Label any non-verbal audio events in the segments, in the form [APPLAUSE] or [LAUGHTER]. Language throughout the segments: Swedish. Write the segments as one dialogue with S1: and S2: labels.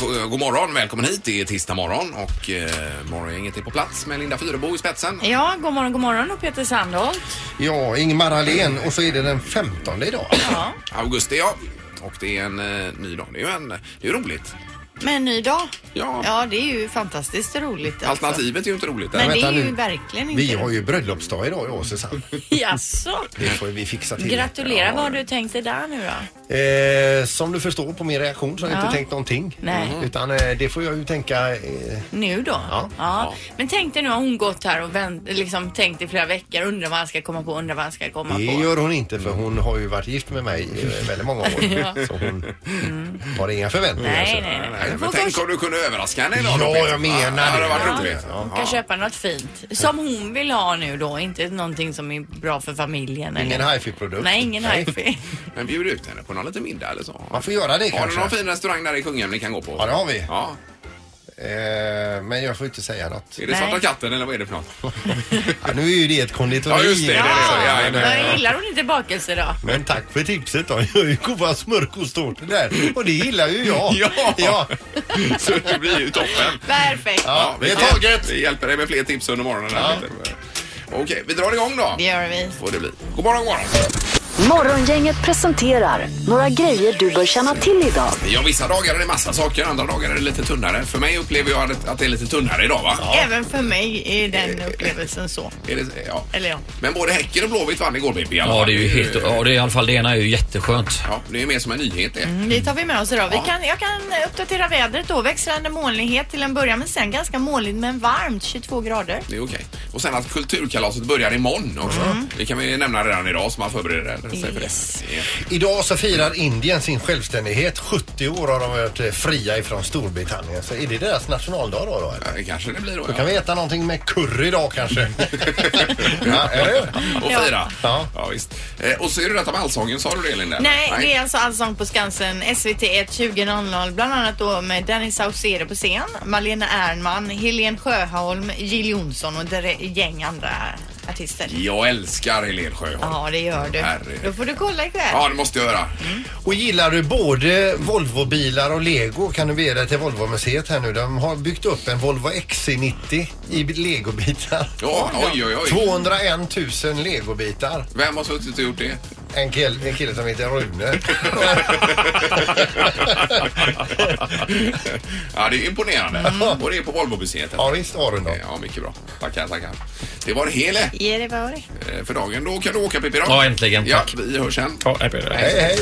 S1: eh, morgon, välkommen hit. Det är tisdag morgon och eh, morgongänget är på plats med Linda Fyrebo i spetsen.
S2: Ja, god morgon, god morgon och Peter Sandholt.
S3: Ja, Ingmar Ahlén och så är det den 15 idag.
S2: Ja.
S1: Augusti, ja. Och det är en eh, ny dag. Det är ju en, det är ju roligt.
S2: Med en ny dag.
S1: Ja.
S2: Ja, det är ju fantastiskt roligt. Alltså.
S1: Alternativet är ju inte roligt.
S2: Men
S1: där.
S2: det
S3: vänta
S2: är ju
S3: nu.
S2: verkligen inte
S3: Vi har ju bröllopsdag idag, jag och Susanne.
S2: [LAUGHS] Jaså?
S3: Det får vi fixa till.
S2: Gratulerar, vad har du tänkt dig där nu då?
S3: Eh, som du förstår på min reaktion så har jag
S2: Ja.
S3: inte tänkt någonting.
S2: Nej.
S3: Mm. Utan eh, det får jag ju tänka. Eh,
S2: Nu då?
S3: Ja.
S2: Men tänk dig nu har hon gått här och vänt, liksom tänkt i flera veckor, undrar vad han ska komma på, undrar vad han ska komma
S3: det
S2: på.
S3: gör hon inte för hon har ju varit gift med mig eh, väldigt många år.
S2: [LAUGHS] Ja. Mm.
S3: Så hon har inga förväntningar.
S2: Nej,
S3: så.
S2: nej, nej.
S1: Nej,
S2: Hon
S1: men
S2: får
S1: tänk
S2: kanske-
S1: om du kunde överraska henne idag
S3: Ja,
S1: då, Peter.
S3: jag menar
S1: Ja, det.
S3: det.
S1: hade varit
S3: Ja.
S1: roligt.
S2: Hon kan köpa något fint. Som hon vill ha nu då, inte någonting som är bra för familjen.
S3: Ingen
S2: eller?
S3: hifi-produkt.
S2: Nej, ingen hifi.
S1: Men bjud ut henne på någon liten middag eller så.
S3: Man får göra det
S1: Har du någon
S3: kanske.
S1: fin restaurang där i Kungälv ni kan gå på?
S3: Ja, det har vi.
S1: Ja.
S3: Eh, men jag får inte
S1: [LAUGHS]
S3: säga något.
S1: Är det
S2: Nej.
S1: Svarta katten eller vad är det för något? [LAUGHS]
S3: Ja, nu är ju det ett konditori.
S1: Ja, just det, det är det.
S3: alltså.
S1: Ja,
S3: Men,
S1: ja,
S3: eh,
S1: ja.
S2: Jag gillar hon inte bakelse då?
S3: Men tack för tipset då. [LAUGHS] Jag är ju goda smörkostårtor där. Och det gillar ju jag.
S1: [LAUGHS] Ja.
S3: ja.
S1: Så det blir ju toppen.
S2: Perfekt.
S3: Ja,
S1: vi
S3: det är
S1: kan-
S3: taget.
S1: Vi hjälper dig med fler tips under morgonen. Här, Peter. Okej, vi drar igång då.
S2: Det gör vi.
S1: Får det bli. God morgon, god morgon.
S4: Morgongänget presenterar några grejer du bör känna till idag.
S1: Ja, vissa dagar är det massa saker, andra dagar är det lite tunnare. För mig upplever jag att- att det är lite tunnare idag, va?
S2: Även för mig är den upplevelsen så.
S1: Är det, ja.
S2: Eller ja.
S1: Men både Häcken och Blåvitt vann igår, Pippi. i alla
S5: Ja,
S1: fall.
S5: det är ju helt, ja, det är i alla fall det ena är ju jätteskönt.
S1: Ja, det är ju mer som en nyhet det.
S2: Det tar vi med oss idag. Vi
S1: Ja.
S2: kan, jag kan uppdatera vädret då. Växlande molnighet till en början men sen ganska molnigt men varmt, 22 grader.
S1: Det är okej. Och sen att kulturkalaset börjar imorgon också. Det kan vi ju nämna redan idag så man förbereder sig för det.
S2: Yes.
S3: Idag så firar Indien sin självständighet. 70 år har de varit eh, fria ifrån Storbritannien. Så är det deras nationaldag då? då eller?
S1: Ja, det kanske det blir då.
S3: Då kan vi äta någonting med curry idag kanske.
S1: [LAUGHS]
S3: ja, eller?
S1: Och
S2: Ja.
S1: fira. Ja.
S3: Ja.
S1: visst. Eh, Och så är det detta med Allsången, sa du det Linda?
S2: Nej, det är alltså Allsång på Skansen SVT 1 20.00 bland annat då med Dennis Saucedo på scen, Malena Ernman, Helene Sjöholm, Jill Johnson och ett gäng andra artister.
S1: Jag älskar Helene Sjöholm.
S2: Ja, det gör du.
S1: Herre.
S2: Då får du kolla ikväll.
S1: Ja, det måste jag göra.
S3: Och gillar du både Volvobilar och Lego kan du bege dig till Volvomuseet här nu. De har byggt upp en Volvo XC90 i Legobitar.
S1: Ja, oj, oj, oj.
S3: 201 000 Legobitar.
S1: Vem har suttit och gjort det? [LAUGHS]
S3: En kille, en kille som heter Rune.
S1: ja, det är imponerande. Och det är på Volvomuseet.
S3: Ja visst har den då.
S1: Ja, mycket bra. Tackar, tackar. Det var det hela
S2: Ge det vad det.
S1: eh, för dagen. Då kan du åka Pippi då.
S5: Ja, äntligen.
S1: Ja,
S5: Tack.
S1: vi hörs sen.
S5: Ja,
S3: Hej hej.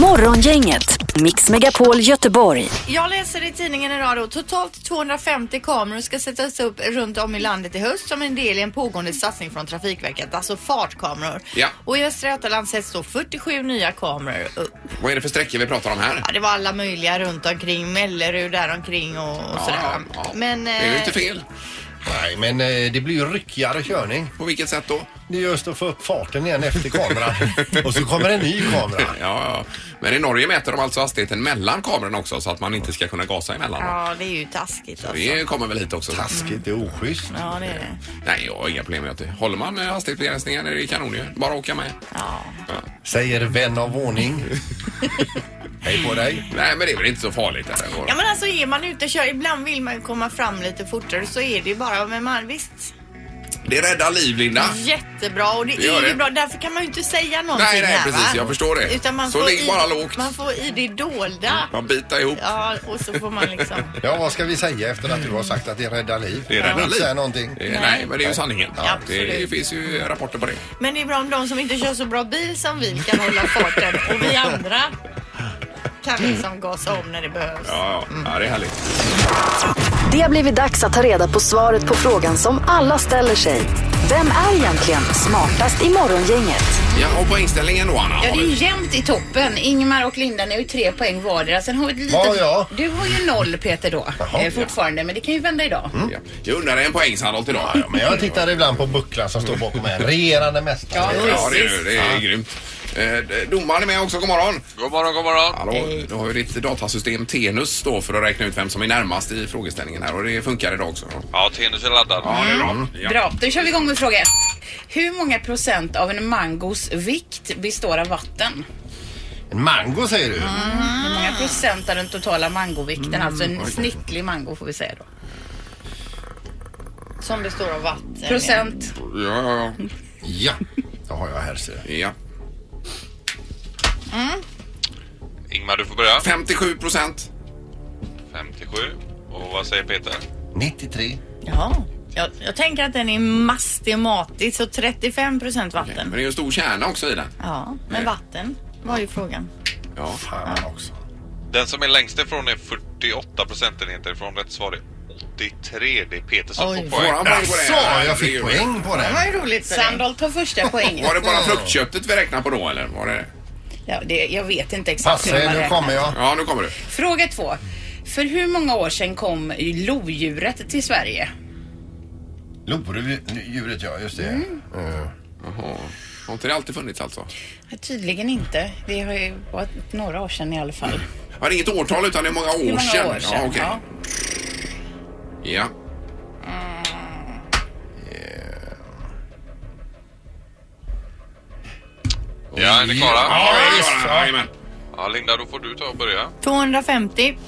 S4: Morgongänget, Mix Megapol Göteborg.
S2: Jag läser i tidningen idag då totalt 250 kameror ska sättas upp runt om i landet i höst som en del i en pågående satsning från Trafikverket, alltså fartkameror.
S1: Ja.
S2: Och i Västra Götaland sätts då 47 nya kameror upp.
S1: Vad är det för sträckor vi pratar om här?
S2: Ja, det var alla möjliga runt omkring, Mellerud där omkring och, och sådär. Men,
S1: det är ju
S2: eh,
S1: inte fel.
S3: Nej men eh, det blir ju ryckigare körning.
S1: På vilket sätt då?
S3: Det är just att få upp farten igen
S1: [LAUGHS]
S3: efter kameran. Och så kommer en ny kamera.
S1: Ja, ja. Men i Norge mäter de alltså hastigheten mellan kamerorna också så att man inte ska kunna gasa emellan. då.
S2: Ja, det är ju taskigt alltså.
S1: Det kommer väl hit också.
S3: Taskigt, det är oschysst.
S2: Ja, det är det.
S1: Nej, jag har inga problem med det. Håller man eh, hastighetsbegränsningen är det kanon ju. Bara åka med.
S2: Ja.
S3: Säger vän av ordning. hej på dig.
S1: Nej, men det är väl inte så farligt. Eller?
S2: ja, men alltså är man ute och kör, ibland vill man ju komma fram lite fortare så är det ju bara, men man, visst.
S1: Det räddar liv, Linda.
S2: Jättebra och det,
S1: Det gör
S2: är ju
S1: det.
S2: bra. Därför kan man ju inte säga någonting
S1: Nej, nej,
S2: här,
S1: precis.
S2: va?
S1: Jag förstår det.
S2: Utan man
S1: Så
S2: får
S1: ligg
S2: i-
S1: bara lågt. Mm.
S2: Man får i det dolda.
S1: Man bitar ihop.
S2: Ja, och så får man liksom...
S3: Ja vad ska vi säga efter att du har sagt att det räddar liv?
S1: Det räddar
S3: Jag vill inte
S1: liv.
S3: Säga någonting.
S1: Eh, Nej, men det är ju sanningen.
S2: Ja,
S1: det
S2: absolut.
S1: finns ju rapporter på det.
S2: Men det är bra om de som inte kör så bra bil som vi kan hålla farten och vi andra kan liksom gasa om när det behövs.
S1: Ja, ja. ja det är härligt.
S4: Det har blivit dags att ta reda på svaret på frågan som alla ställer sig. Vem är egentligen smartast i morgongänget?
S1: Ja, och poängställningen då, Anna?
S6: Ja,
S1: har
S6: det är
S1: vi-
S6: ju jämnt i toppen. Ingmar och Linda är ju tre poäng vardera. Sen har vi ett litet...
S3: Vad har jag?
S6: Du har ju noll Peter då, eh, fortfarande. Men det kan ju vända idag.
S3: Mm.
S1: Ja. Jag undrar en poäng, Sandholt, idag. Ja,
S3: Men jag tittar ibland på bucklan som står bakom mig. Regerande mästare.
S1: Ja, det är, det är grymt. Eh, domaren är med också. God morgon! God morgon, god morgon! Hallå, du har ju ditt datasystem Tenus då för att räkna ut vem som är närmast i frågeställningen här och det funkar idag också.
S7: Ja, Tenus är laddad.
S1: Ja, det är bra. Ja.
S6: Bra, då kör vi igång med fråga ett. Hur många procent av en mangos vikt består av vatten?
S3: En mango säger du?
S6: Hur många procent av den totala mangovikten? Alltså en snittlig mango får vi säga då.
S2: Som består av vatten.
S6: Procent.
S1: Ja, ja, ja.
S3: Ja. Det har jag här ser jag.
S1: ja.
S7: Ingmar, du får börja.
S1: 57 procent.
S7: 57. Och vad säger Peter?
S3: 93.
S2: Ja. Jag, jag tänker att den är mastematisk, så 35 procent
S1: Men
S2: vatten.
S1: det är ju en stor kärna också i den.
S2: Ja, men vatten var ju frågan.
S1: Ja.
S3: Fan också.
S7: Den som är längst ifrån är 48 procentenheter ifrån. Rätt svar är 83. Det är Peter som
S2: Oj.
S7: får poäng.
S1: Våran poäng på det.
S3: Så jag fick poäng på
S2: Det
S3: den.
S2: var ju roligt. för dig.
S6: Sandholt tar första poängen.
S1: Var det bara fruktköttet vi räknade på då eller? Var det?
S6: Ja, det, jag vet inte exakt
S3: Passa
S6: hur
S3: er,
S6: man
S3: nu kommer
S6: räknar.
S3: jag.
S1: Ja, nu kommer du.
S6: Fråga två. För hur många år sedan kom lodjuret till Sverige?
S3: Lodjuret ja, just det. Eh,
S1: Jaha. Har inte det alltid funnits alltså?
S6: Ja, Tydligen inte. Det har ju varit några år sedan i alla fall.
S1: Ja, det är inget årtal utan det är många år
S6: Hur många
S1: sedan.
S6: år sedan?
S1: Ja, okej.
S6: Ja.
S1: ja.
S7: Ja, är ni klara?
S1: Ja,
S7: Ja.
S1: det är bara- jajamän.
S7: Linda, då får du ta och börja.
S2: 250.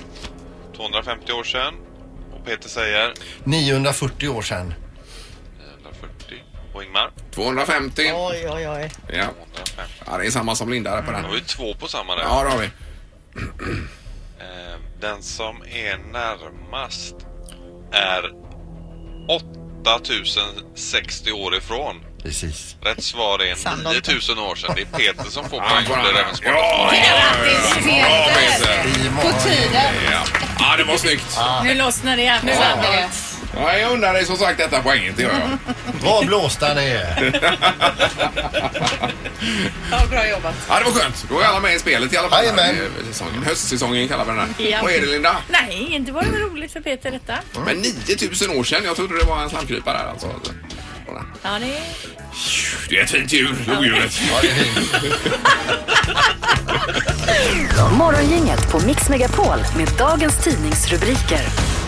S7: 250 år sedan. Och Peter säger
S3: 940 år sedan.
S7: 140. Och Ingmar
S1: 250.
S2: Oj, oj, oj.
S1: Ja.
S7: 250.
S1: ja, det är samma som Linda där på den.
S7: Då har vi två på samma där.
S1: Ja, det har vi.
S7: Eh, Den som är närmast är 8060 år ifrån.
S3: Precis.
S7: Rätt svar är
S2: Sandholt.
S7: 9000 år sedan. Det är Peter som får
S1: Ja,
S7: poäng.
S1: bara-
S7: Det är även
S1: ja, ja,
S7: svaret.
S1: ja, ja, Peter.
S3: I
S6: På
S3: morgon.
S6: tiden.
S1: Ja. ja, det var snyggt.
S2: Nu lossnar det här. Nu Sandholt.
S6: Ja.
S1: Ja, jag undrar dig som sagt detta poängen, det gör jag.
S3: Vad blåsta ni är.
S6: Ja, bra jobbat.
S1: Ja, det var skönt. Då är alla med i spelet i alla fall.
S3: Jajamän.
S1: Det är säsongen. Höstsäsongen kallar vi den här.
S2: Ja.
S1: Vad är det Linda?
S2: Nej, inte var det väl roligt för Peter detta?
S3: Mm.
S1: Men 9000 år sedan. Jag trodde det var en slamkrypare här alltså. Kolla.
S2: Ja, det är...
S1: Det är ett fint djur, lodjuret.
S3: Ja, det är fint.
S4: Morgongänget på Mix Megapol med dagens tidningsrubriker.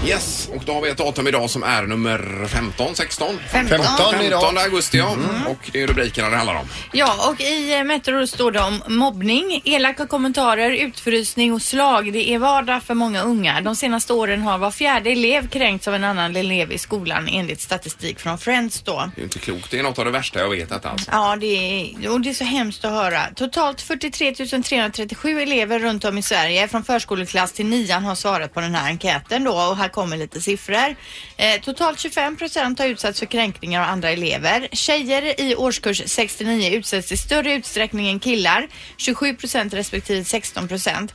S1: Yes, och då har vi ett datum idag som är nummer 15, 16.
S2: 15.
S3: 15
S1: 15
S3: idag. Mm.
S1: augusti ja. Och det är rubrikerna det handlar om.
S2: Ja, och i eh, Metro står det om mobbning, elaka kommentarer, utfrysning och slag. Det är vardag för många unga. De senaste åren har var fjärde elev kränkts av en annan elev i skolan enligt statistik från Friends då.
S1: Det är inte klokt. Det är något av det värsta jag vet detta alltså.
S2: Ja, det är, och det är så hemskt att höra. Totalt 43 337 elever runt om i Sverige från förskoleklass till nian har svarat på den här enkäten då och här kommer lite siffror. Eh, totalt 25 procent har utsatts för kränkningar av andra elever. Tjejer i årskurs 69 utsätts i större utsträckning än killar, 27 procent respektive 16 procent.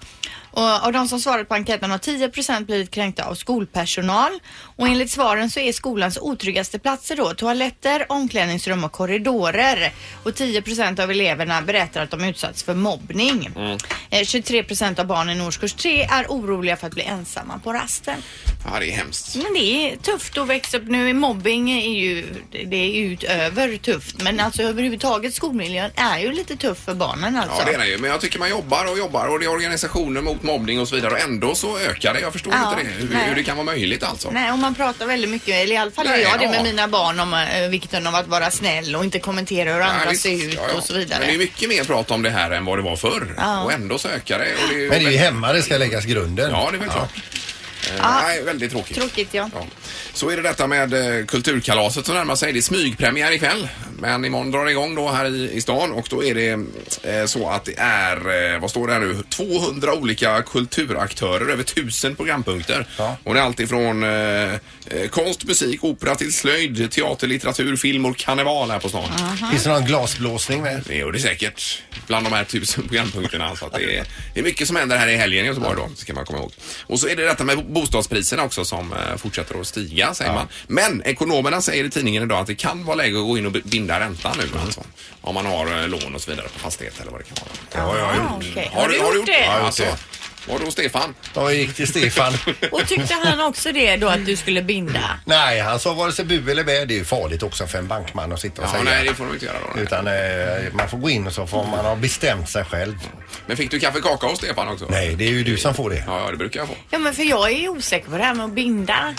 S2: Och av de som svarat på enkäten har 10 blivit kränkta av skolpersonal. Och enligt svaren så är skolans otryggaste platser då toaletter, omklädningsrum och korridorer. Och 10 av eleverna berättar att de utsatts för mobbning.
S1: Mm.
S2: Eh, 23 av barnen i årskurs 3 är oroliga för att bli ensamma på rasten.
S1: Ja, det är hemskt.
S2: Men det är tufft att växa upp nu. Mobbing är ju, det är ju utöver tufft. Men alltså överhuvudtaget skolmiljön är ju lite tuff för barnen alltså.
S1: Ja, det är det ju. Men jag tycker man jobbar och jobbar och det är organisationer mot mobbning och så vidare och ändå så ökar det. Jag förstår
S2: Ja,
S1: inte det. Hur,
S2: nej.
S1: hur det kan vara möjligt alltså.
S2: Nej, och man pratar väldigt mycket, eller i alla fall gör
S1: Nej,
S2: jag det
S1: ja.
S2: med mina barn om eh, vikten av att vara snäll och inte kommentera hur andra
S1: visst.
S2: ser ut
S1: Ja, ja.
S2: och så
S1: Men det är
S2: vidare.
S1: mycket mer prat om det här än vad det var förr. Och ändå så ökar det. Och det är ju
S3: Men det är ju hemma det ska läggas grunden.
S1: Ja, det är väl klart. Eh,
S2: Ja.
S1: Nej, väldigt tråkigt.
S2: Tråkigt ja.
S1: Ja. Så är det detta med eh, Kulturkalaset som närmar sig. Det är smygpremiär ikväll. Men imorgon drar det igång då här i, i stan och då är det eh, så att det är, eh, vad står det här nu, 200 olika kulturaktörer, över 1000 programpunkter.
S3: Ja.
S1: Och det är allt ifrån eh, eh, konst, musik, opera till slöjd, teater, litteratur, film och karneval här på stan.
S3: Finns det någon glasblåsning med?
S1: Det gör det säkert bland de här tusen programpunkterna. Så att det, är, det är mycket som händer här i helgen i Göteborg då, ska man komma ihåg. Och så är det detta med bostadspriserna också som eh, fortsätter att stiga, säger man. Men ekonomerna säger i tidningen idag att det kan vara läge att gå in och b- binda räntan nu alltså. Om man har eh, lån och så vidare på fastighet eller vad det kan vara.
S3: Ja, jag
S2: Ah, okej. Har, du, gjort det?
S1: Ja,
S3: gjort
S1: alltså.
S3: det.
S1: Var då Stefan?
S3: Jag gick
S1: [LAUGHS]
S3: till Stefan.
S2: Och tyckte han också det då att du skulle binda?
S3: Nej, han sa vare sig bu eller bä. Det är ju farligt också för en bankman att sitta och
S1: Ja,
S3: säga.
S1: nej, det får de inte göra då.
S3: Utan eh, man får gå in och så får man ha bestämt sig själv.
S1: Men fick du kaffe och kaka hos Stefan också?
S3: Nej, det är ju du som får det.
S1: Ja, ja, det brukar jag få.
S2: Ja men för jag är osäker på det här med att binda.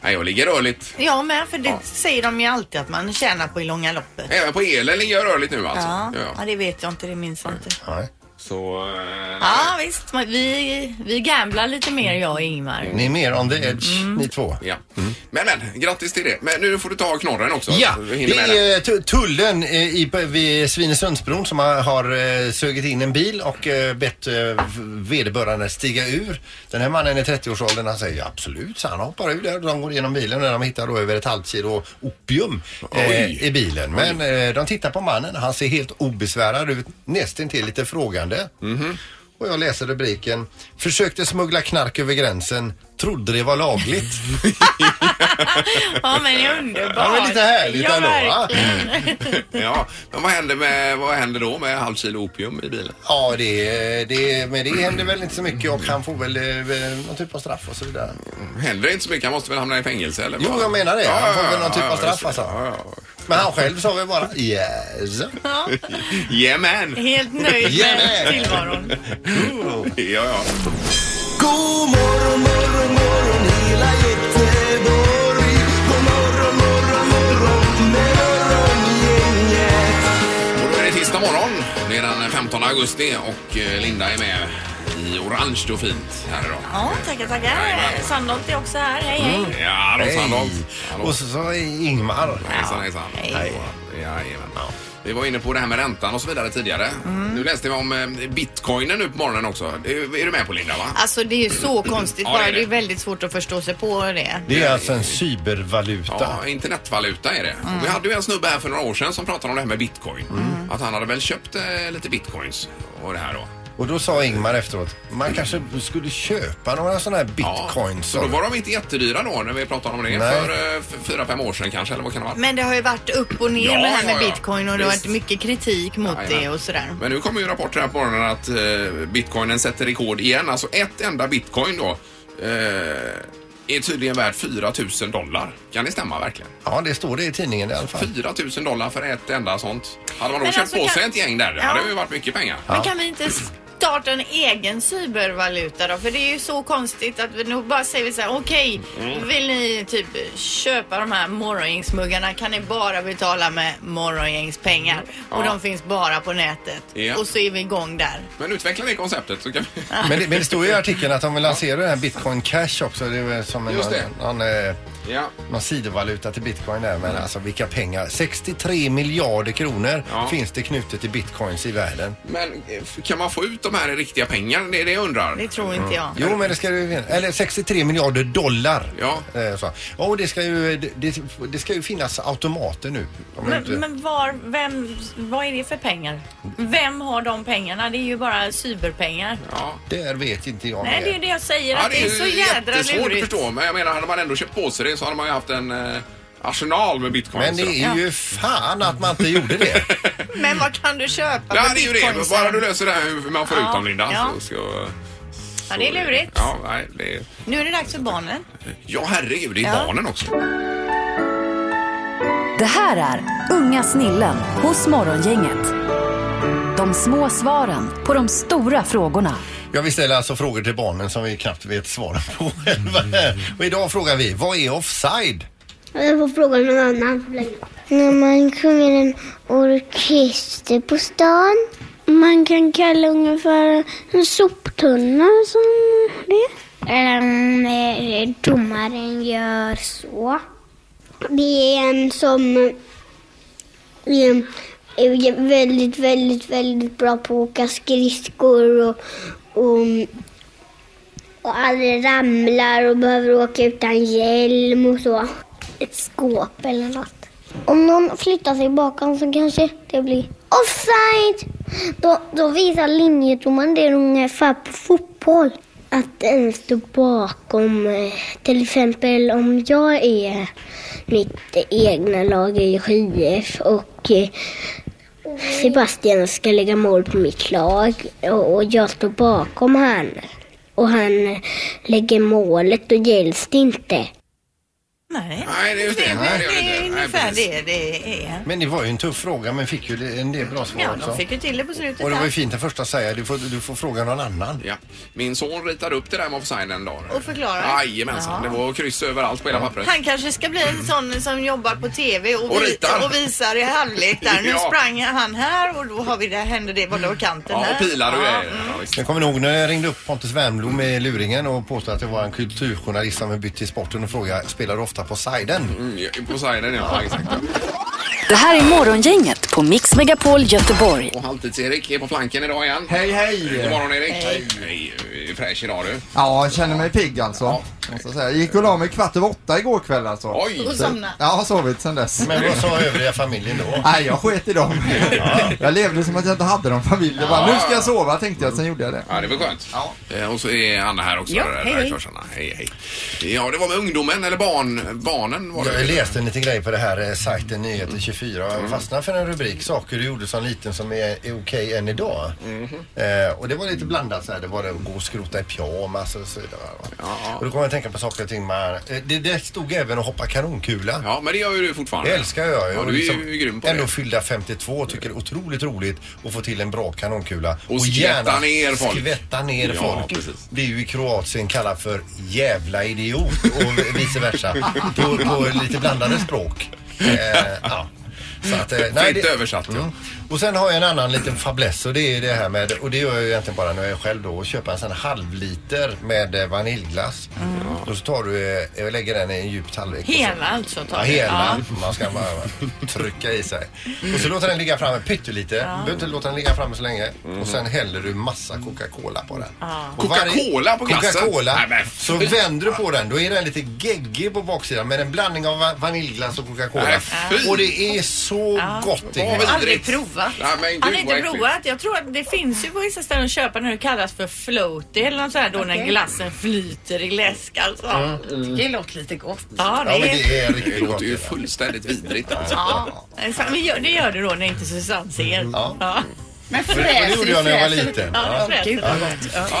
S1: Nej, jag ligger rörligt.
S2: Ja, men för det säger de ju alltid att man tjänar på i långa loppet.
S1: Även på elen ligger jag rörligt nu alltså.
S2: Ja,
S1: Ja.
S2: ja, det vet jag inte, det minns jag inte.
S3: Nej.
S1: Så... eh,
S2: Ja, visst. men Vi, vi gamblar lite mer, jag och Ingmar.
S3: Ni är mer on the edge, ni två.
S1: Ja. Men men, grattis till det. Men nu får du ta knorren också.
S3: Ja,
S1: så du hinner
S3: det
S1: med den.
S3: är tu- tullen eh, i, vid Svinesundsbron som har- har eh, sugit in en bil och eh, bett eh, vederbörande stiga ur. Den här mannen i 30-årsåldern han säger absolut, så han hoppar ur där och de går igenom bilen och de hittar då över ett halvt kilo opium
S1: Oj.
S3: eh, i bilen. Men eh, de tittar på mannen, han ser helt obesvärad ut, nästintill lite frågande. Och jag läser rubriken Försökte smuggla knark över gränsen, trodde det var lagligt.
S2: Ja, men det är underbart.
S3: Ja, men lite härligt
S2: ja,
S3: ändå, va?
S2: verkligen.
S1: [LAUGHS] Ja, men vad händer, med, vad händer då med halv kilo opium i bilen?
S3: Ja, det, det, men det händer väl inte så mycket och han får väl eh, någon typ av straff och så vidare.
S1: Händer det inte så mycket? Han måste väl hamna i fängelse eller?
S3: Jo,
S1: vad?
S3: jag menar det. Han får
S1: ja,
S3: väl någon typ
S1: ja,
S3: av straff,
S1: just det.
S3: alltså.
S1: Ja, ja.
S3: Men han själv sa väl bara yes.
S1: Yeah man!
S3: [LAUGHS]
S2: Helt nöjd
S3: Yeah.
S2: med tillvaron.
S1: Ja, ja.
S8: God morgon, morgon, morgon hela Göteborg. God morgon, morgon, morgon med Morgongänget.
S1: Och då är det tisdag morgon. Det är den 15 augusti och eh, Linda är med i orange och fint här idag.
S2: Ja, tackar, tackar.
S1: Jajamän. Mm.
S2: Sandholt är också här. Hej, hej.
S1: Ja, då Sandholt. Hallå.
S3: Och så sa Ingmar.
S1: Hejsan, hejsan.
S2: Hej.
S1: Jajamän. Vi var inne på det här med räntan och så vidare tidigare. Nu läste vi om eh, bitcoinen nu på morgonen också. Det Är är du med på Linda? va?
S2: Alltså det är ju så konstigt
S1: Ja,
S2: bara.
S1: det
S2: Det
S1: är
S2: är,
S1: det.
S2: väldigt svårt att förstå sig på det.
S3: Det är alltså en cybervaluta.
S1: Ja, internetvaluta är det. Och vi hade ju en snubbe här för några år sedan som pratade om det här med bitcoin. Att han hade väl köpt eh, lite bitcoins och det här då.
S3: Och då sa Ingmar efteråt, man kanske skulle köpa några sådana här bitcoins.
S1: Så då var de inte jättedyra då när vi pratade om det
S3: Nej.
S1: för eh, f- fyra, fem år sedan kanske eller vad kan det vara?
S2: Men det har ju varit upp och ner
S1: Ja,
S2: med det här
S1: ja,
S2: med
S1: ja.
S2: bitcoin och det har
S1: Visst.
S2: varit mycket kritik mot
S1: Jajamän.
S2: det och sådär.
S1: Men nu kommer ju rapporter här på morgonen att eh, bitcoinen sätter rekord igen. Alltså ett enda bitcoin då eh, är tydligen värd 4 000 dollar. Kan det stämma verkligen?
S3: Ja, det står det i tidningen i alla fall.
S1: 4 000 dollar för ett enda sånt. Hade man då
S2: Men
S1: köpt
S2: alltså,
S1: på
S2: kan-
S1: sig ett gäng där, det
S2: Ja.
S1: hade ju varit mycket pengar.
S2: Men kan vi inte starta en egen cybervaluta då? För det är ju så konstigt att vi nog bara säger vi så här, okej,
S1: Mm.
S2: vill ni typ köpa de här morgongängsmuggarna kan ni bara betala med morgongängspengar och
S1: Ja.
S2: de finns bara på nätet.
S1: Ja.
S2: Och så är vi igång där.
S1: Men utveckla det konceptet så kan vi...
S3: Men det, men det står ju i artikeln att de vill lansera den här bitcoin cash också. Det är väl som en,
S1: Just det.
S3: någon, någon, eh,
S1: Ja.
S3: någon sidovaluta till bitcoin där.
S1: Mm.
S3: Men alltså vilka pengar. 63 miljarder kronor
S1: Ja.
S3: finns det knutet till bitcoins i världen.
S1: Men eh, kan man få ut de här i riktiga pengar? Det är det jag undrar.
S2: Det tror inte jag.
S3: Jo, men det ska ju finnas. Eller 63 miljarder dollar.
S1: Ja.
S3: Eh, Så. Ja, Och det ska ju, det, det ska ju finnas automater nu. De är
S2: Men,
S3: inte-
S2: men var, vem, vad är det för pengar? Vem har de pengarna? Det är ju bara cyberpengar.
S1: Ja.
S3: Där vet inte jag
S2: Nej,
S3: mer.
S2: det är ju det jag säger.
S1: Ja,
S2: att det är så jädra
S1: jättesvårt att
S2: lurigt.
S1: förstå. Men jag menar, hade man ändå köpt på sig det så hade man ju haft en eh, arsenal med bitcoins.
S3: Men det är ju fan att man inte
S2: [LAUGHS]
S3: gjorde det.
S2: Men vad kan du köpa
S1: Ja,
S2: för
S1: det är ju det.
S2: bitcoinsen?
S1: Bara du löser det här hur man får
S2: Ja,
S1: ut dem, Linda.
S2: ja.
S1: Så, så,
S2: Ja, det är lurigt.
S1: Ja, nej, det är...
S2: Nu är det dags för barnen.
S1: ja herregud, det är
S2: Ja.
S1: barnen också.
S4: Det här är Unga snillen hos Morgongänget. De små svaren på de stora frågorna.
S3: Jag vill ställa alltså frågor till barnen som vi knappt vet svaren på [LAUGHS] själva.
S2: Mm.
S3: Och idag frågar vi, vad är offside?
S9: Jag får fråga någon annan. När man sjunger en orkester på stan. Man kan kalla ungen för en soptunna som det. Eller om eh, domaren gör så. Det är en som eh, är väldigt, väldigt, väldigt bra på att åka skridskor och, och och aldrig ramlar och behöver åka utan hjälm och så. Ett skåp eller något. Om någon flyttar sig bakom så kanske det blir offside. Då, då visar linjedomaren det ungefär på fotboll. Att den står bakom, eh, till exempel om jag är mitt egna lag i JF och eh, Sebastian ska lägga mål på mitt lag och och jag står bakom han. Och han lägger målet, då gälls det inte.
S2: Nej.
S1: Nej, det är just det.
S2: Det,
S1: Nej, det gör
S2: det,
S1: det inte.
S2: är
S1: Nej,
S2: ungefär
S1: precis.
S2: det det är.
S3: Men det var ju en tuff fråga men fick ju en del bra svar
S2: Ja,
S3: också.
S2: de fick ju till det på slutet.
S3: Och det var ju
S2: där.
S3: fint den första säga, du får, du får fråga någon annan.
S1: Ja. Min son ritade upp det där med offside en dag.
S2: Och förklarade?
S1: Jajamensan.
S2: Ja.
S1: Det var kryss överallt på hela pappret.
S2: Han kanske ska bli en sån som jobbar på TV och,
S1: Och
S2: vi-
S1: ritar.
S2: och visar i halvlek där.
S1: [LAUGHS]
S2: Nu
S1: Ja.
S2: sprang han här och då har vi det, hände det, var det och kanten
S1: Ja,
S2: här. Mm.
S1: och pilar och grejer. Ja, visst.
S3: Jag kommer ihåg när jag ringde upp Pontus Wernbloom med luringen och påstod att jag var en kulturjournalist som hade bytt till sporten och frågade spelar du ofta på siden?
S1: Mm, ja, På sidan, ja. Exakt. ja.
S4: Det här är Morgongänget på Mix Megapol Göteborg.
S1: Och Halvtids-Erik är på flanken idag igen.
S8: Hej, hej!
S1: God morgon Erik. Hej. Hej. Fräsch idag du.
S8: Ja, jag känner mig pigg alltså. Måste jag säga. Gick och la mig kvart över åtta igår kväll alltså.
S1: Oj!
S2: Och somna.
S8: Ja, har sovit sen dess.
S3: Men vad sa övriga familjen då?
S10: [LAUGHS]
S8: Nej, jag sket i [LAUGHS] dem. Jag levde som att jag inte hade någon familj. Jag bara, nu ska jag sova tänkte jag, sen gjorde jag det.
S1: Ja, det var skönt.
S8: Ja.
S1: Eh, Och så är Anna här också.
S6: Ja,
S1: där- där
S6: hej,
S1: i
S6: hej.
S1: kurserna. hej, hej. Ja, det var med ungdomen, eller barn, barnen var det.
S3: Jag läste lite grejer på det här eh, sajten Nyheter 24 och jag fastnade för en rubrik, saker du gjorde som liten som är, är okej än idag. Eh, och det var lite blandat så här, det var det att gå och skrota i pyjamas och så vidare. va. Och då kom jag att tänka på saker och ting man, eh, det, det stod även att hoppa kanonkula.
S1: Ja, men det gör ju du fortfarande.
S3: Det älskar jag ju.
S1: Ja,
S3: Och
S1: du är ju grym på
S3: ändå
S1: det.
S3: fyllda 52 tycker det är otroligt roligt att få till en bra kanonkula.
S1: Och skvätta ner folk.
S3: Skvätta ner
S1: Ja,
S3: folk.
S1: precis.
S3: Blir ju i Kroatien kallat för jävla idiot och vice versa. på, på lite blandade språk. Eh, ja. Så att, eh, nej,
S1: Fritt översatt, ja.
S3: Mm. Och sen har jag en annan liten fäbless och det är det här med, och det gör jag ju egentligen bara när jag är själv då, och köpa en sån här halvliter med eh, vaniljglass.
S1: Mm.
S3: Och så tar du, eh, jag lägger den i en djup tallrik. och så-
S2: Hela alltså. tar
S3: Ja,
S2: vi.
S3: hela. Man ska bara trycka i sig. Och så låter den ligga framme pyttelite. Du behöver inte låta den ligga framme så länge. Och sen häller du massa Coca-Cola på den. Och varje-
S1: Coca-Cola på glassen? Nej,
S3: Coca-Cola.
S1: men-
S3: Så vänder du på den. Då är den lite geggig på baksidan med en blandning av va- vaniljglass och Coca-Cola.
S1: Nej, fy.
S3: Och det är så gott.
S1: Vad
S3: Ingmar.
S2: Ja.
S1: vidrigt.
S2: Aldrig provat.
S1: Nej, men gud,
S2: Han har inte
S1: vad äckligt.
S2: provat. Jag tror att det finns ju på vissa ställen att köpa när det kallas för floaty eller något sånt här då när glassen flyter i läsk alltså.
S6: Mm. Det låter lite gott.
S2: Ja, det
S3: Ja, men
S2: är...
S3: det är
S1: Det
S3: riktigt gott.
S1: låter ju
S3: det.
S1: fullständigt vidrigt. Alltså.
S2: Ja, men gör- det gör du då när inte Susanne ser.
S3: Mm. Ja.
S2: Ja.
S6: Men
S3: Det gjorde jag när jag var liten.
S2: Ja,
S3: Ja.
S2: det är fräscht.
S1: Jag har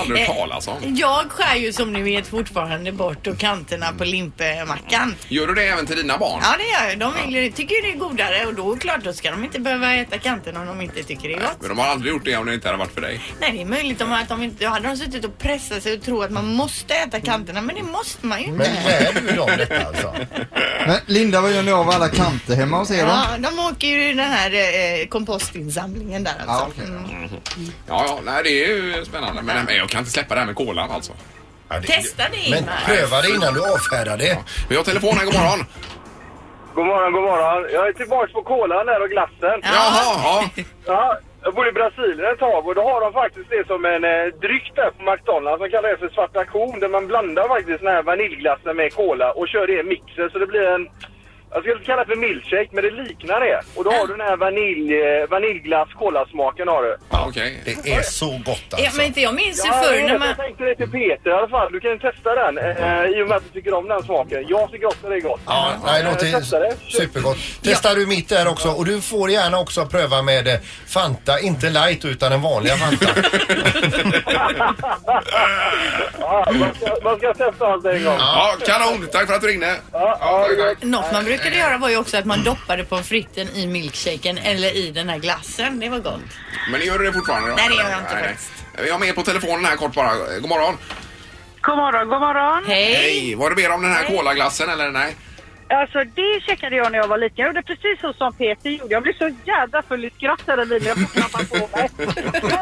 S1: aldrig alltså. hört talas om.
S2: Jag skär ju som ni vet fortfarande bort och kanterna på limpemackan.
S1: Gör du det även till dina barn?
S2: Ja det gör jag. De vill, ju- tycker ju det är godare och då är det klart då ska de inte behöva äta kanterna om de inte tycker det är gott.
S1: Men de har aldrig gjort det om det inte hade varit för dig.
S2: Nej det är möjligt om att de inte, då hade de suttit och pressat sig och tro att man måste äta kanterna men det måste man ju
S3: Men
S2: inte.
S3: lär du dem detta alltså?
S8: Men Linda, vad gör ni av alla kanter hemma hos er då?
S2: Ja, de åker ju i den här eh, kompostinsamlingen där alltså.
S8: Ja, okej.
S2: Mm.
S1: Ja, ja, nej, det är ju spännande. Men, men jag kan inte släppa det här med kolan alltså.
S3: Ja, det-
S2: Testa det
S3: Men
S2: Ingmar.
S3: pröva det innan du avfärdar det.
S1: Vi har telefonen, god morgon.
S10: God morgon, god morgon. Jag är tillbaks på kolan där och glassen.
S1: Jaha, ja.
S10: Ja, jag bodde i Brasilien ett tag och då har de faktiskt det som en eh, dryck där på McDonalds. De kallar det för svarta kon där man blandar faktiskt den här vaniljglassen med kola och kör det i mixer så det blir en... Jag skulle inte kalla det för milkshake men det liknar det. Och då har du den här vanilj, eh, vaniljglass kolasmaken har du.
S1: ja okej.
S3: Det är så gott
S2: Ja,
S3: alltså.
S2: men inte jag minns ju
S10: Ja, jag,
S2: förr
S10: vet,
S2: när man...
S10: jag tänkte det till Peter i alla fall. Du kan ju testa den eh, i och med att du tycker om den smaken. Jag tycker också det är gott.
S3: Ja, nej, det
S10: Eh, testa det.
S3: låter supergott. Testar du mitt där också och du får gärna också pröva med eh, Fanta, inte light utan den vanliga Fanta.
S10: Ja, man, ska, man ska testa allt en gång.
S1: Ja, kanon. Tack för att du ringde.
S10: Ja, ja,
S1: tack,
S10: ja.
S1: tack.
S2: Något man brukade göra var ju också att man doppade pommes fritesen i milkshaken eller i den här glassen. Det var gott.
S1: Men gör du det fortfarande? Då?
S2: Nej, det gör jag inte
S1: Nej, nej.
S2: faktiskt.
S1: Vi har med på telefonen här kort bara. God morgon.
S10: God morgon, god morgon.
S2: Hej!
S1: Hej! Var det mer om den här kolaglassen eller nej?
S10: Alltså det checkade jag när jag var liten. Jag gjorde precis så som Peter gjorde. Jag blev så jävla full i skratt hela tiden. Jag får knappt på mig.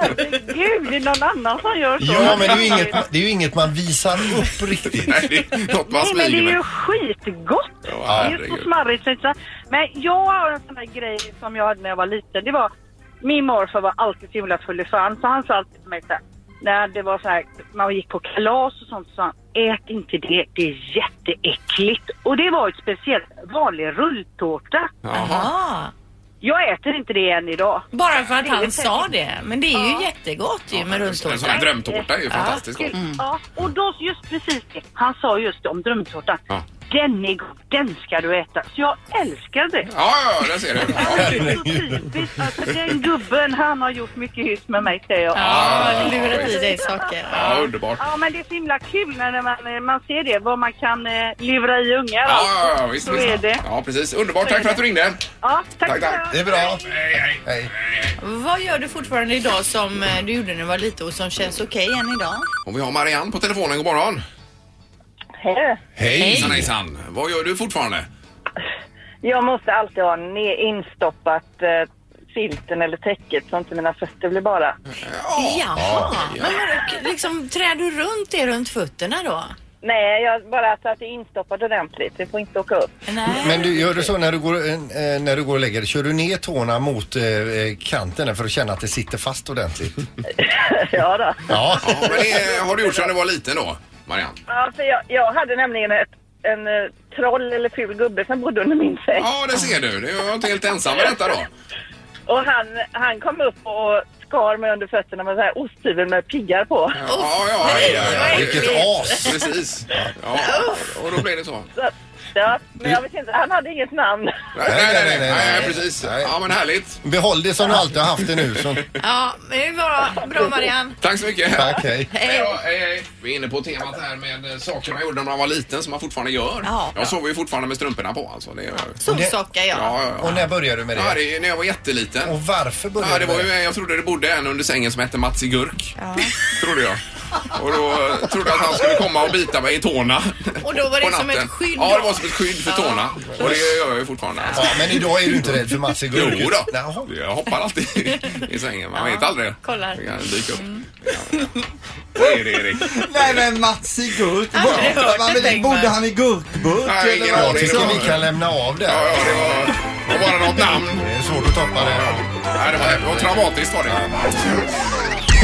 S10: Herregud, det är någon annan som gör så.
S3: Ja, men det är ju inget, det är ju inget man visar upp riktigt.
S1: Nej, det är något man
S10: Nej, men det
S1: smyger
S10: är ju
S1: med.
S10: skitgott!
S1: Ja,
S10: det är ju så
S1: herregud.
S10: smarrigt. så inte- Men jag har en sån här grej som jag hade när jag var liten. Det var, min morfar var alltid så himla full i fan, så han sa alltid till mig så här, när det var så här, man gick på kalas och sånt, så sa han, ät inte det, det är jätteäckligt. Och det var ju speciellt vanlig rulltårta.
S1: Jaha.
S2: Ah,
S10: Jag äter inte det än idag.
S2: bara för att han
S10: Det är
S2: sa det. Men det är ju jättegott ju med
S1: En sån
S2: rulltårta.
S1: här
S11: Ah,
S1: drömtårta är ju fantastiskt gott. Mm.
S10: Ja, och då just precis det. Han sa just om drömtårtan.
S1: Ja.
S11: den är god, den ska du äta. Så jag älskar det.
S1: Ja, ja, där ser du.
S2: Typ
S11: Alltså, den gubben, han har gjort mycket hyss med mig, säger jag.
S2: Ja, lurat i dig saker.
S1: Ja, underbart.
S11: Ja, men det är så himla kul när man, man ser det, vad man kan eh, lura i ungar.
S1: Ja, ja, ja, visst,
S11: så
S1: visst.
S11: är det.
S1: Ja, precis. Underbart. Tack för att du ringde.
S11: Ja, tack,
S1: Tack, tack.
S3: Det är bra.
S1: Hej, hej.
S2: Vad gör du fortfarande idag som eh, du gjorde när du var liten och som känns okej än idag?
S1: Och vi har Marianne på telefonen. God morgon.
S12: Hej.
S1: Hej. Hejsan, hejsan. Vad gör du fortfarande?
S12: Jag måste alltid ha ne- instoppat eh, filten eller täcket så inte mina fötter blir bara.
S2: Jaha, men vadå, liksom, trär du runt det runt fötterna då?
S12: Nej, jag bara så att det är instoppat ordentligt. Det får inte åka upp.
S3: Men du, gör du så när du, går, eh, eh, när du går och lägger dig? Kör du ner tårna mot eh, kanten där för att känna att det sitter fast ordentligt?
S12: ja då.
S3: Ja.
S1: Ja, men det har du gjort sedan du var liten då, Marianne?
S12: Ja, för jag, jag hade nämligen ett, en eh, troll eller ful gubbe som bodde under min säng.
S1: Ja, det ser du. Du var inte helt ensam med detta då.
S12: Och han, han kom upp och skar mig under fötterna med så här osthyvel med piggar på.
S1: Ja, ja, ja, ja, ja.
S3: Vilket as!
S1: Precis. Ja, och då blev det så.
S12: Så, ja, men jag vet inte, han hade inget namn.
S1: Nej, nej, nej, nej, nej, precis. Ja, men härligt.
S3: Behåll det som du alltid har haft det nu. Så.
S2: Ja, men det är bra. Bra Marianne.
S1: Tack så mycket.
S3: Tack, hej.
S1: Hej, då, hej, hej. Vi är inne på temat här med eh, saker man gjorde när man var liten som man fortfarande gör.
S2: Ja.
S1: Jag sover ju fortfarande med strumporna på alltså. Det gör jag.
S2: Solsockar ja.
S1: Ja, ja, ja.
S3: Och när började du med
S1: Ja,
S3: det?
S1: det är när jag var jätteliten.
S3: Och varför började
S1: Ja, det
S3: du
S1: var
S3: med
S1: ju, jag trodde det bodde en under sängen som hette Mats i Gurk. Trodde jag. Och då eh, trodde jag att han skulle komma och bita mig i tårna.
S2: Och då var
S1: på
S2: det som
S1: natten.
S2: ett skydd
S1: Ja, det
S2: då.
S1: var som ett skydd för tårna. Och det gör jag ju fortfarande. Alltså.
S3: Ja, men idag är du inte rädd för Mats i
S1: Jo
S3: gurket.
S1: då.
S3: Jaha.
S1: jag hoppar alltid i sängen. Man vet aldrig.
S2: kollar.
S1: Det kan dyka upp.
S2: Mm.
S1: Ja, ja. Det är det, Erik.
S8: Nej men Mats i gurk.
S2: Aldrig hört
S8: Man
S2: det,
S8: vill-
S2: Ingmar.
S8: Bodde han i gurkburk?
S1: Nej,
S8: eller
S1: ingen
S8: vad?
S1: aning.
S3: Jag tycker
S1: Ja,
S3: vi kan lämna av det.
S1: Ja, ja, det var, det var bara något namn.
S3: Det är svårt att toppa det.
S1: Nej, det, var, det var traumatiskt var det.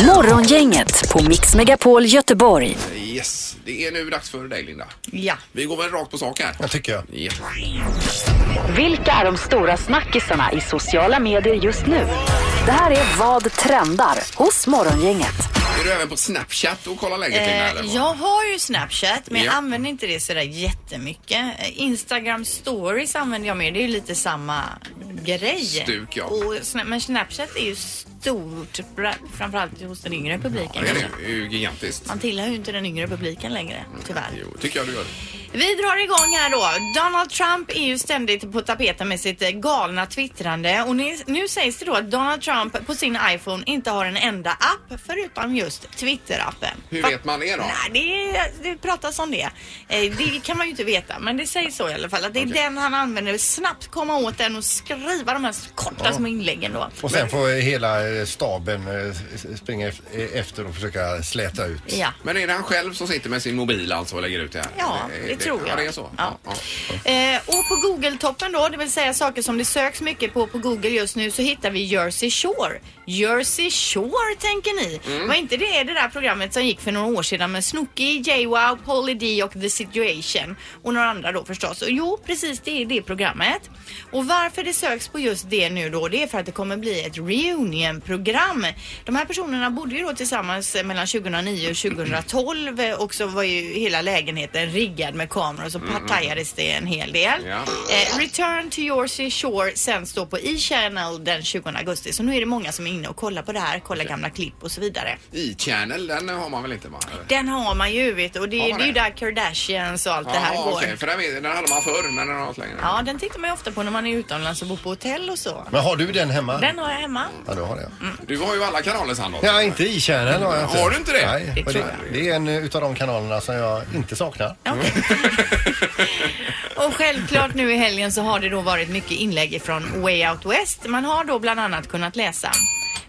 S4: Morgongänget på Mix Megapol Göteborg.
S1: Yes, det är nu dags för dig Linda.
S2: Ja.
S1: Vi går väl rakt på sak här.
S3: Jag tycker jag.
S1: Ja.
S4: Vilka är de stora snackisarna i sociala medier just nu? Det här är Vad trendar hos Morgongänget.
S1: Är du även på Snapchat och kollar läget Linda?
S2: Eh,
S1: eller vad?
S2: jag har ju Snapchat men
S1: Ja.
S2: jag använder inte det sådär jättemycket. Eh, Instagram stories använder jag mer. Det är ju lite samma grej.
S1: Stuk, ja.
S2: och, Sna- men Snapchat är ju stort, bra- framförallt hos den yngre
S1: Ja,
S2: publiken.
S1: det är det. Det är ju gigantiskt.
S2: Man tillhör ju inte den yngre publiken längre, tyvärr.
S1: Jo, tycker jag du gör. det.
S2: Vi drar igång här då. Donald Trump är ju ständigt på tapeten med sitt eh, galna twittrande och nu, nu sägs det då att Donald Trump på sin iPhone inte har en enda app förutom just Twitter-appen.
S1: Hur
S2: Fa-
S1: vet man det då?
S2: Nej, det, är- det pratas om det. Eh, Det kan man ju inte veta, men det sägs så i alla fall. Att det är den han använder. Snabbt komma åt den och skriva de här korta små inläggen då.
S3: Och sen får hela eh, staben eh, s- springa ef- eh, efter och försöka släta ut.
S2: Ja.
S1: Men är det han själv som sitter med sin mobil alltså och lägger ut det här?
S2: Ja, det tror
S1: Ja,
S2: jag.
S1: det är så.
S2: Ja.
S1: Ja, ja.
S2: Eh, och på Google-toppen då, det vill säga saker som det söks mycket på på Google just nu, så hittar vi Jersey Shore. Jersey Shore tänker ni. Var inte det det där programmet som gick för några år sedan med Snooki, Jay-Wow, Pauly D och The Situation och några andra då förstås. Och jo, precis det är det programmet. Och varför det söks på just det nu då, det är för att det kommer bli ett reunion-program. De här personerna bodde ju då tillsammans eh, mellan 2009 och 2012 eh, och så var ju hela lägenheten riggad med kameror så partajades det en hel del.
S1: Ja.
S2: Eh, Return to Jersey Shore sänds då på E-Channel den 20 augusti så nu är det många som är inne och kollar på det här, kollar gamla klipp och så vidare.
S1: E-channel, den har man väl inte? Va? Eller?
S2: Den har man ju vet du, och det,
S1: Har man
S2: det är ju
S1: det?
S2: där Kardashians och allt det här
S1: Ja,
S2: går.
S1: okej, för den, den hade man förr, men den har varit längre.
S2: Ja, den tittar man ju ofta på när man är utomlands och bor på hotell och så.
S3: Men har du den hemma?
S2: Den har jag hemma.
S3: Ja, då har jag.
S1: Du har ju alla kanaler Sandholt.
S3: Ja, inte i kärnan har jag inte.
S1: Har du inte det?
S3: Nej,
S2: Det
S3: och
S2: tror
S3: det, det är en eh, utav de kanalerna som jag inte saknar.
S2: Och självklart nu i helgen så har det då varit mycket inlägg från Way Out West. Man har då bland annat kunnat läsa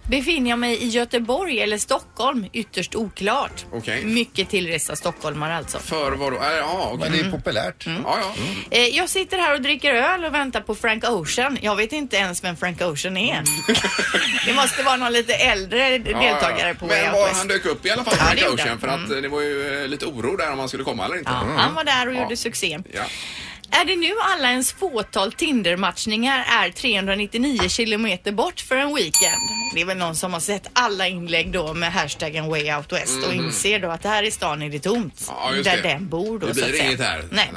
S2: Befinner jag mig i Göteborg eller Stockholm? Ytterst oklart.
S1: Okej.
S2: Mycket tillresta stockholmare alltså.
S1: För vad då? Äh, Ja, okej.
S3: Men det
S2: Mm.
S3: är populärt.
S1: Ja, ja.
S2: Eh, jag sitter här och dricker öl och väntar på Frank Ocean. Jag vet inte ens vem Frank Ocean är. det måste vara någon lite äldre
S1: Mm. Ja,
S2: deltagare
S1: ja.
S2: på Way
S1: Men
S2: Out
S1: var
S2: West.
S1: han dök upp i alla fall,
S2: Ja,
S1: Frank
S2: det gjorde
S1: Ocean,
S2: han.
S1: för att eh, det var ju eh, lite oro där om han skulle komma eller inte.
S2: Ja, han var där och
S1: Ja.
S2: gjorde succé.
S1: Ja.
S2: Är det nu alla ens fåtal Tinder-matchningar är 399 kilometer bort för en weekend? Det är väl någon som har sett alla inlägg då med hashtaggen way out west och
S1: Mm.
S2: inser då att det här i stan är det tomt.
S1: Ja, just
S2: där
S1: det.
S2: den bor då
S1: Det
S2: så att
S1: blir
S2: säga.
S1: inget här.
S2: Nej.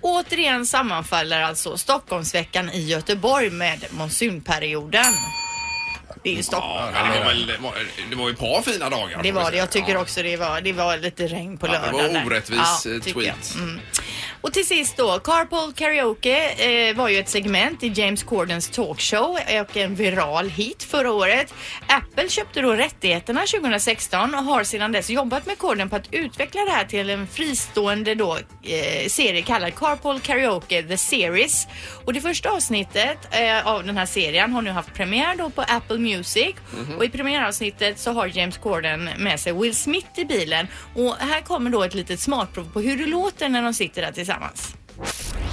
S2: Återigen sammanfaller alltså Stockholmsveckan i Göteborg med monsunperioden. Det är ju Stockholm.
S1: Ja, det, var väl, det, var, det var ju ett par fina dagar.
S2: Det
S1: får man
S2: var det.
S1: säga.
S2: Jag tycker också det var, det var lite regn på
S1: Ja, det
S2: lördagen.
S1: var
S2: där.
S1: orättvis,
S2: Ja,
S1: eh,
S2: tycker jag.
S1: tweet.
S2: Mm. Och till sist då, Carpool Karaoke eh, var ju ett segment i James Cordens talkshow och en viral hit förra året. Apple köpte då rättigheterna 2016 och har sedan dess jobbat med Corden på att utveckla det här till en fristående då, eh, serie kallad Carpool Karaoke The Series. Och det första avsnittet eh, av den här serien har nu haft premiär då på Apple Music
S13: Mhm.
S2: och i premiäravsnittet så har James Corden med sig Will Smith i bilen och här kommer då ett litet smakprov på hur det låter när de sitter där tillsammans.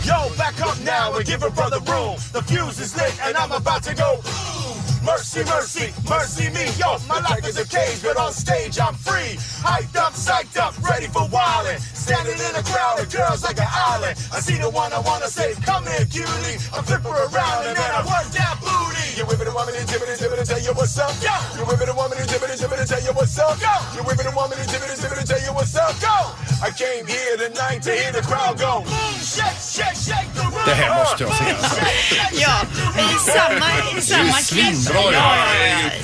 S14: Yo, back up now and give a brother room. The fuse is lit and I'm about to go. boom. Mercy, mercy, mercy me. Yo, my life is a cage, but on stage I'm free. Hyped up, psyched up, ready for wildin'. Standing in a crowd of girls like an island. I see the one I wanna say, come here, cutie. I flip her around and then I work that booty. You whipping and woman and jibbing and jibbing and tell you what's up. Yo, you whipping and woman and jibbing and jibbing and tell you what's up. Yo, you whipping and woman and jibbing and jibbing and tell you what's up. Go. I came here tonight to hear the crowd go. Boom, shake, shake, shake the room.
S3: Det här måste jag se alltså.
S2: Ja, i samma, i samma klipp. Ja, ja,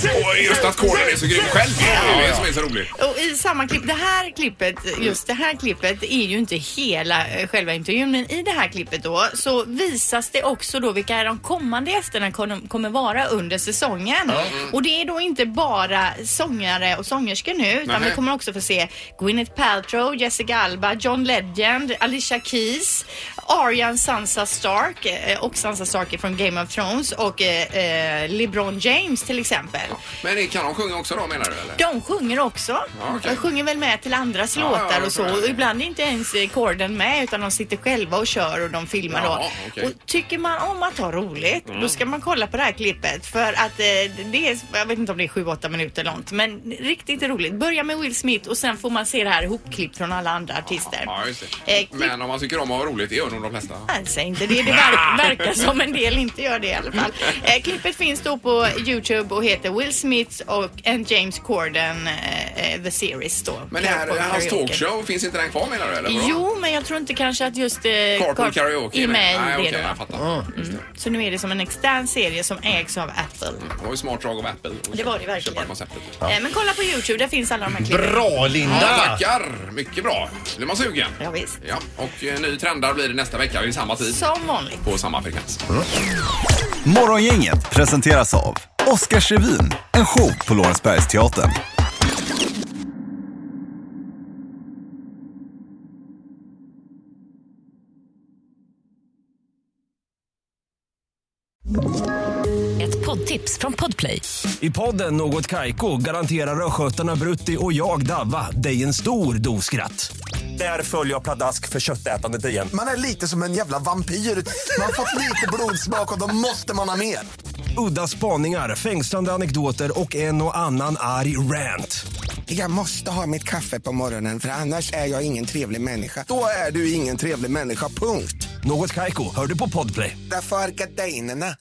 S2: ja.
S1: Och just att Corden är så grym själv. Det är det som är så roligt.
S2: Och i samma klipp, det här klippet, just det här klippet är ju inte hela eh, själva intervjun men i det här klippet då så visas det också då vilka är de kommande gästerna kon- kommer vara under säsongen.
S13: Ja. Mm.
S2: Och det är då inte bara sångare och sångerskor nu utan
S13: Nähä.
S2: vi kommer också få se Gwyneth Paltrow, Jessica Alba, John Legend, Alicia Keys, Aryan Sansa Stark eh, och Sansa Stark är från Game of Thrones och eh, eh, LeBron James till exempel.
S1: Men det kan de sjunga också då menar du eller?
S2: De sjunger också.
S1: Ja, okej.
S2: De sjunger väl med till andras
S1: Ja, ja,
S2: låtar
S1: jag
S2: och så.
S1: tror det.
S2: Och ibland är inte ens eh, korden med utan de sitter själva och kör och de filmar
S1: Ja,
S2: då.
S1: okej.
S2: Och tycker man om att ha roligt
S1: Mm.
S2: då ska man kolla på det här klippet för att eh, det är, jag vet inte om det är 7-8 minuter långt men riktigt roligt. Börja med Will Smith och sen får man se det här ihopklippt från alla andra artister.
S1: Ja, just
S2: Eh,
S1: det. Men om man tycker om att ha roligt, det gör nog de flesta.
S2: Nej, säg inte det. Det
S1: [LAUGHS]
S2: ver- verkar som en del inte gör det i alla fall. Eh, klippet finns då på Youtube och heter Will Smith och and James Corden eh, eh, The Series då.
S1: Men det här,
S2: Carpool
S1: hans
S2: Karaoke.
S1: talkshow, finns inte den kvar menar du eller? vadå?
S2: Jo, men jag tror inte kanske att just eh,
S1: Carpool
S2: Carp-
S1: karaoke
S2: är med i
S1: Nej,
S2: det
S1: okej,
S2: då.
S1: jag fattar.
S2: Mm. Så nu är det som en extern serie som ägs av Apple.
S1: Det var ju smart drag av Apple. att
S2: Det var det
S1: köpa-
S2: verkligen.
S1: köpa konceptet.
S2: Eh, men kolla på Youtube, där finns alla de här klippen.
S1: Ja, tackar! Mycket bra. Nu är man sugen.
S2: Ja, visst.
S1: Ja, och eh, ny trendar blir det nästa vecka vid samma tid.
S2: Som vanligt.
S1: På samma frekvens.
S15: Morgongänget presenteras av Oscarsrevyn, en show på Lorensbergsteatern.
S16: Ett poddtips från Podplay.
S17: I podden Något Kaiko garanterar östgötarna Brutti och jag, Davva, dig en stor dos skratt.
S14: Där följer jag pladask för köttätandet igen.
S18: Man är lite som en jävla vampyr. Man har fått lite blodsmak och då måste man ha mer.
S17: Udda spaningar, fängslande anekdoter och en och annan arg rant.
S18: Jag måste ha mitt kaffe på morgonen för annars är jag ingen trevlig människa. Då är du ingen trevlig människa, punkt.
S17: Något Kaiko, hör du på Podplay.
S18: Därför arkadeinerna.